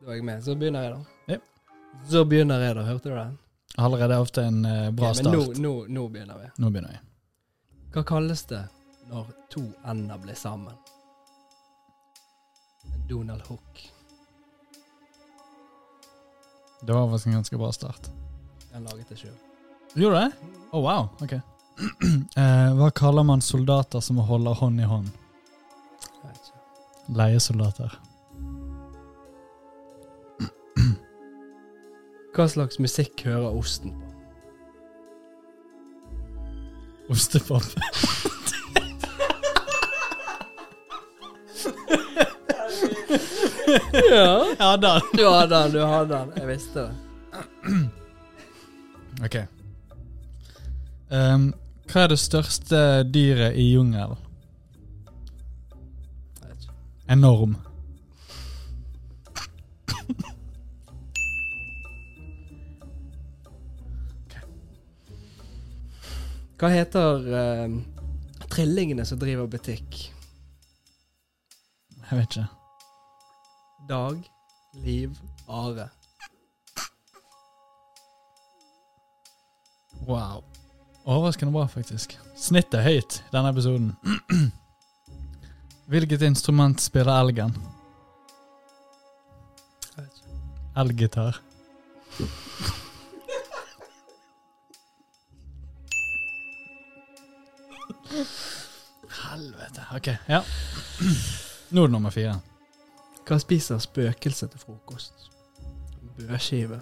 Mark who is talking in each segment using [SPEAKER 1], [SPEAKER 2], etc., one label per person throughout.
[SPEAKER 1] Da er jeg med. Så begynner jeg, da.
[SPEAKER 2] Ja.
[SPEAKER 1] Så begynner jeg, da. Hørte du det?
[SPEAKER 2] Allerede er ofte en eh, bra
[SPEAKER 1] Ok, men nå,
[SPEAKER 2] start.
[SPEAKER 1] nå, nå begynner vi.
[SPEAKER 2] Nå, begynner jeg.
[SPEAKER 1] Hva kalles det når to ender blir sammen? En Donald Hook.
[SPEAKER 2] Det var faktisk en ganske bra start.
[SPEAKER 1] Jeg laget det sjøl.
[SPEAKER 2] Gjorde du det? Oh, wow. Ok. Eh, hva kaller man soldater som holder hånd i hånd? Leiesoldater.
[SPEAKER 1] Hva slags musikk hører osten på?
[SPEAKER 2] Ostepop.
[SPEAKER 1] Ja,
[SPEAKER 2] ja, da.
[SPEAKER 1] du hadde den, du hadde den. Jeg visste det.
[SPEAKER 2] Ok. Ehm, hva er det største dyret i jungel?
[SPEAKER 1] Jeg vet ikke.
[SPEAKER 2] Enorm.
[SPEAKER 1] Hva heter eh, trillingene som driver butikk?
[SPEAKER 2] Jeg vet ikke.
[SPEAKER 1] Dag, Liv, Are.
[SPEAKER 2] Wow. Overraskende bra, faktisk. Snittet er høyt i denne episoden. Hvilket instrument spiller elgen?
[SPEAKER 1] Jeg vet ikke.
[SPEAKER 2] Elgitar. Helvete. Ok, ja. Nå er det nummer fire.
[SPEAKER 1] Hva spiser spøkelset til frokost? Bøskive.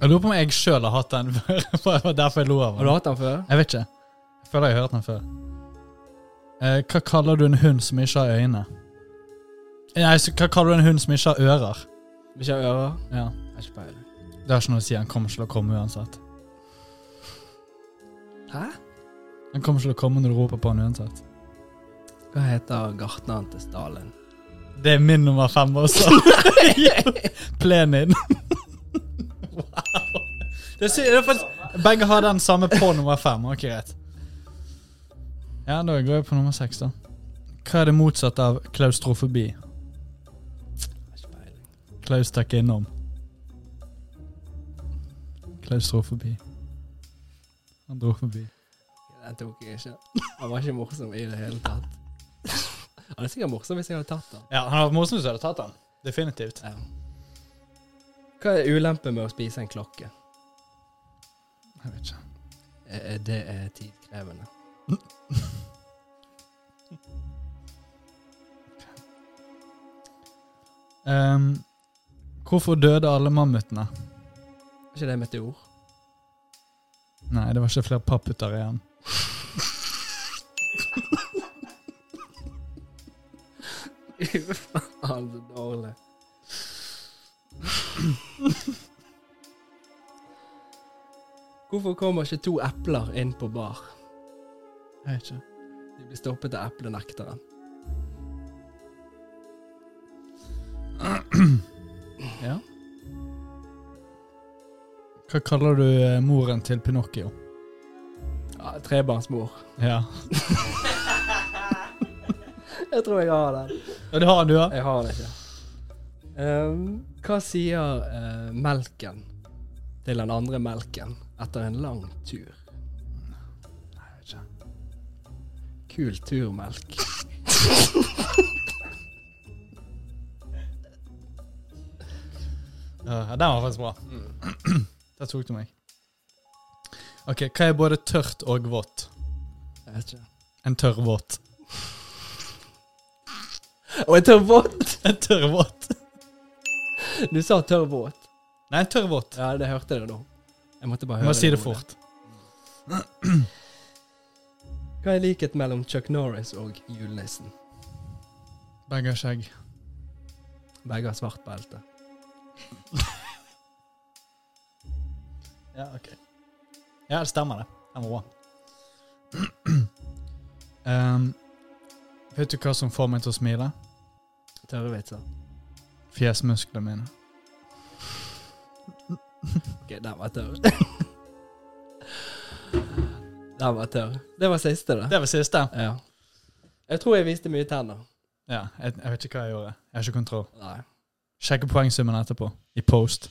[SPEAKER 2] Jeg lurer på om jeg sjøl har hatt den før. for det var Derfor jeg lo av
[SPEAKER 1] Har du
[SPEAKER 2] den.
[SPEAKER 1] hatt den før?
[SPEAKER 2] Jeg vet ikke. Jeg føler jeg har hørt den før. Eh, hva kaller du en hund som ikke har øyne? Eh, Nei, så hva kaller du en hund som ikke har ører?
[SPEAKER 1] Ikke har ører?
[SPEAKER 2] Ja,
[SPEAKER 1] Jeg har ikke peiling.
[SPEAKER 2] Det har ikke noe å si. Han kommer ikke til å komme uansett.
[SPEAKER 1] Hæ?
[SPEAKER 2] Han kommer ikke til å komme når du roper på han uansett.
[SPEAKER 1] Hva heter gartneren til Stalin?
[SPEAKER 2] Det er min nummer fem også. Plenin. wow. Det er, sy- det er faktisk, begge har den samme på nummer fem. Ok, greit. Ja, da går jeg på nummer seks, da. Hva er det motsatte av klaustrofobi?
[SPEAKER 1] Jeg har ikke peiling.
[SPEAKER 2] Klaus stakk innom. Klaustrofobi. Han dro forbi.
[SPEAKER 1] Den tok jeg ikke. Han var ikke morsom i det hele tatt. Han er sikkert morsom hvis jeg hadde tatt den.
[SPEAKER 2] Ja, han hadde vært morsom hvis du hadde tatt han. Definitivt.
[SPEAKER 1] Ja. Hva er ulempen med å spise en klokke?
[SPEAKER 2] Jeg vet ikke.
[SPEAKER 1] Eh, eh, Det er tidkrevende.
[SPEAKER 2] Ehm, hvorfor døde alle mammutene?
[SPEAKER 1] Er ikke det meteor?
[SPEAKER 2] Nei, det var ikke flere papputer igjen.
[SPEAKER 1] Faen, så dårlig. Hvorfor kommer ikke to epler inn på bar?
[SPEAKER 2] Jeg vet ikke.
[SPEAKER 1] De blir stoppet av eplenekteren.
[SPEAKER 2] Ja. Hva kaller du eh, moren til Pinocchio?
[SPEAKER 1] Ja, trebarnsmor.
[SPEAKER 2] Ja.
[SPEAKER 1] Jeg tror jeg har den.
[SPEAKER 2] Ja, det har du, ja?
[SPEAKER 1] Jeg har den ikke. Ehm, hva sier eh, melken til den andre melken etter en lang tur? Kul tur, melk.
[SPEAKER 2] Ja, Den var faktisk bra. Mm. Der tok du meg. Ok, hva er både tørt og vått?
[SPEAKER 1] Jeg vet ikke.
[SPEAKER 2] En tørrvåt.
[SPEAKER 1] Og en tørr våt!
[SPEAKER 2] En tørrvåt.
[SPEAKER 1] Du sa tørr våt.
[SPEAKER 2] Nei, en tørrvåt.
[SPEAKER 1] Ja, det hørte dere nå. Jeg måtte bare
[SPEAKER 2] Du
[SPEAKER 1] høre
[SPEAKER 2] må si det
[SPEAKER 1] ordet.
[SPEAKER 2] fort.
[SPEAKER 1] Hva er likhet mellom Chuck Norris og julenissen?
[SPEAKER 2] Begge har skjegg.
[SPEAKER 1] Begge har svart belte.
[SPEAKER 2] Ja, ok. Ja, det stemmer det. Den var bra. Ehm, vet du hva som får meg til å smile?
[SPEAKER 1] Tørre vitser.
[SPEAKER 2] Fjesmusklene mine.
[SPEAKER 1] Ok, den var tørr. den var tørr. Det var siste, det.
[SPEAKER 2] Det var siste.
[SPEAKER 1] Ja. Jeg tror jeg viste mye tenner.
[SPEAKER 2] Ja, jeg, jeg vet ikke hva jeg gjorde. Jeg har ikke kontroll.
[SPEAKER 1] Nei.
[SPEAKER 2] Sjekke poengsummen etterpå. I post.